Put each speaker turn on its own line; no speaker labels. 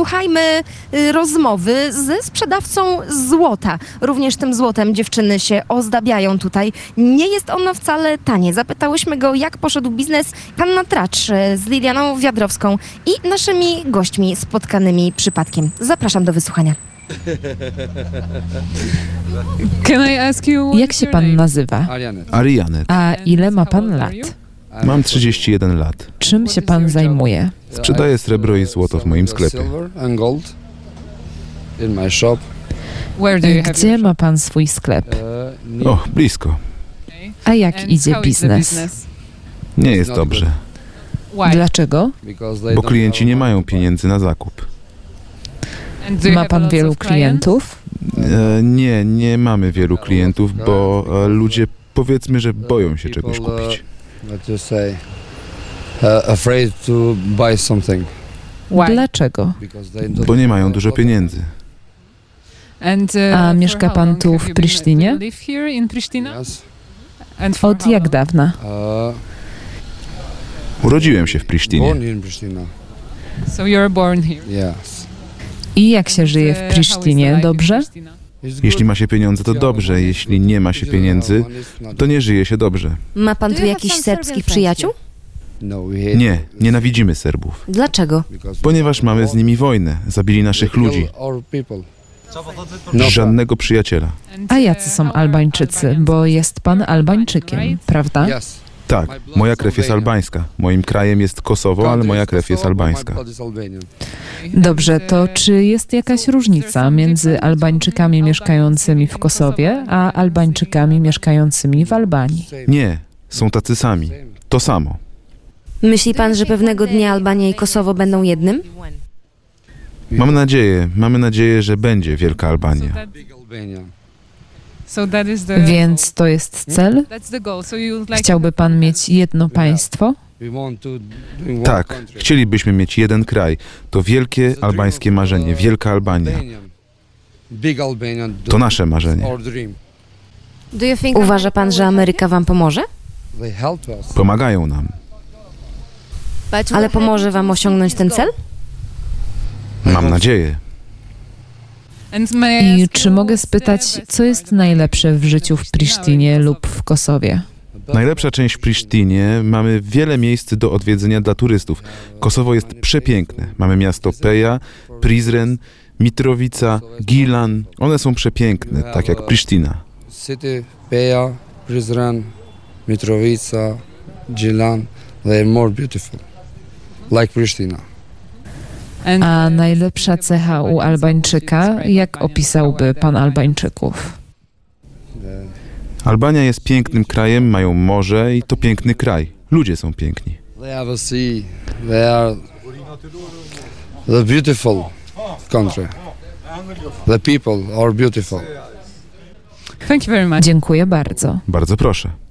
Posłuchajmy y, rozmowy ze sprzedawcą złota. Również tym złotem dziewczyny się ozdabiają tutaj. Nie jest ono wcale tanie. Zapytałyśmy go, jak poszedł biznes Panna Tracz y, z Lilianą Wiadrowską i naszymi gośćmi spotkanymi przypadkiem. Zapraszam do wysłuchania.
Can I ask you what
Jak
is
się
your
pan
name?
nazywa?
Arianet.
Arianet.
A ile ma
How
pan
old
lat?
are you?
Mam 31 lat.
Czym się pan zajmuje?
Sprzedaję srebro i złoto w moim sklepie.
Silver and gold in my shop.
Where do you have
Gdzie
your
ma pan swój sklep?
Uh, nie-
O, blisko.
A jak
And
idzie
how is the
biznes?
business?
Nie jest dobrze,
Why?
Dlaczego?
because they
bo
don't
klienci
have
nie
money
mają
to buy.
pieniędzy na zakup.
And do you
Ma
have
pan
lots
wielu
of clients?
klientów?
E, nie, nie mamy wielu klientów, bo e, ludzie powiedzmy, że boją się czegoś kupić.
What you say? Uh, afraid to buy something.
Why?
Dlaczego?
Because they don't
Bo nie mają dużo pieniędzy.
And, uh,
A
for
mieszka
how
pan
long
tu
have
w
you been-
Prisztinie?
do you live here in Pristina?
Yes.
And for
Od
how
jak
long?
dawna?
Uh,
Urodziłem się w Prisztinie.
Born in Pristina.
So you're born here.
Yes.
I jak się żyje
And, uh,
w
how is the
Prisztinie?
life in
Dobrze?
Pristina?
It's
Jeśli
good.
ma się pieniądze,
If
to
you have
dobrze.
money, it's
Jeśli
good.
nie ma
If
się
you don't have
pieniędzy,
money, it's not
to nie żyje się dobrze.
Ma pan tu jakichś serbskich przyjaciół?
No, we hate
Nie,
it.
nienawidzimy Serbów.
Dlaczego?
Because
Ponieważ mamy z nimi wojnę. Zabili naszych
they kill
ludzi.
our people.
Żadnego przyjaciela.
And,
A
uh,
jacy są
how are
Albańczycy?
Albanians?
Bo jest pan Albańczykiem, prawda?
Yes.
Tak, moja krew jest albańska. Moim krajem jest Kosowo, ale moja krew jest albańska.
uh,
Dobrze, to czy jest jakaś różnica między Albańczykami mieszkającymi w Kosowie, a Albańczykami mieszkającymi w Albanii?
Nie, są tacy sami. To samo.
Myśli pan, że pewnego dnia Albania i Kosowo będą jednym?
Mam nadzieję, mamy nadzieję, że będzie Wielka
So
Albania.
that, so that is the
Więc to jest cel?
goal. That's the goal. So you would like
Chciałby pan mieć jedno państwo?
Tak, chcielibyśmy mieć jeden kraj. To wielkie albańskie marzenie, Wielka Albania.
Big Albania.
To nasze marzenie.
Our dream.
Uważa pan, że Ameryka wam pomoże?
They help us.
Pomagają nam.
Ale pomoże wam osiągnąć ten cel?
Mam nadzieję.
And may I
I
ask
czy
you
mogę
what's the
spytać,
best
co
part
jest
about
najlepsze w
living
życiu w
in Pristina
Prisztinie
or in
lub w Kosowie?
Najlepsza część w Prisztinie. Mamy wiele miejsc do odwiedzenia dla turystów. Kosowo jest przepiękne. Mamy miasto Peja, Prizren, Mitrowica, Gilan. One są przepiękne, tak jak Prisztina.
City, Peja, Prizren, Mitrovica, Gilan. They are more beautiful. Like Pristina.
And,
A
uh,
najlepsza cecha u Albańczyka, jak opisałby pan
Albańczyk?
Albańczyków?
The-
Albania jest pięknym krajem, mają morze i to piękny kraj. Ludzie są piękni.
They have a sea. They are the beautiful country. The people are beautiful.
Thank you very much.
Dziękuję bardzo.
Bardzo proszę.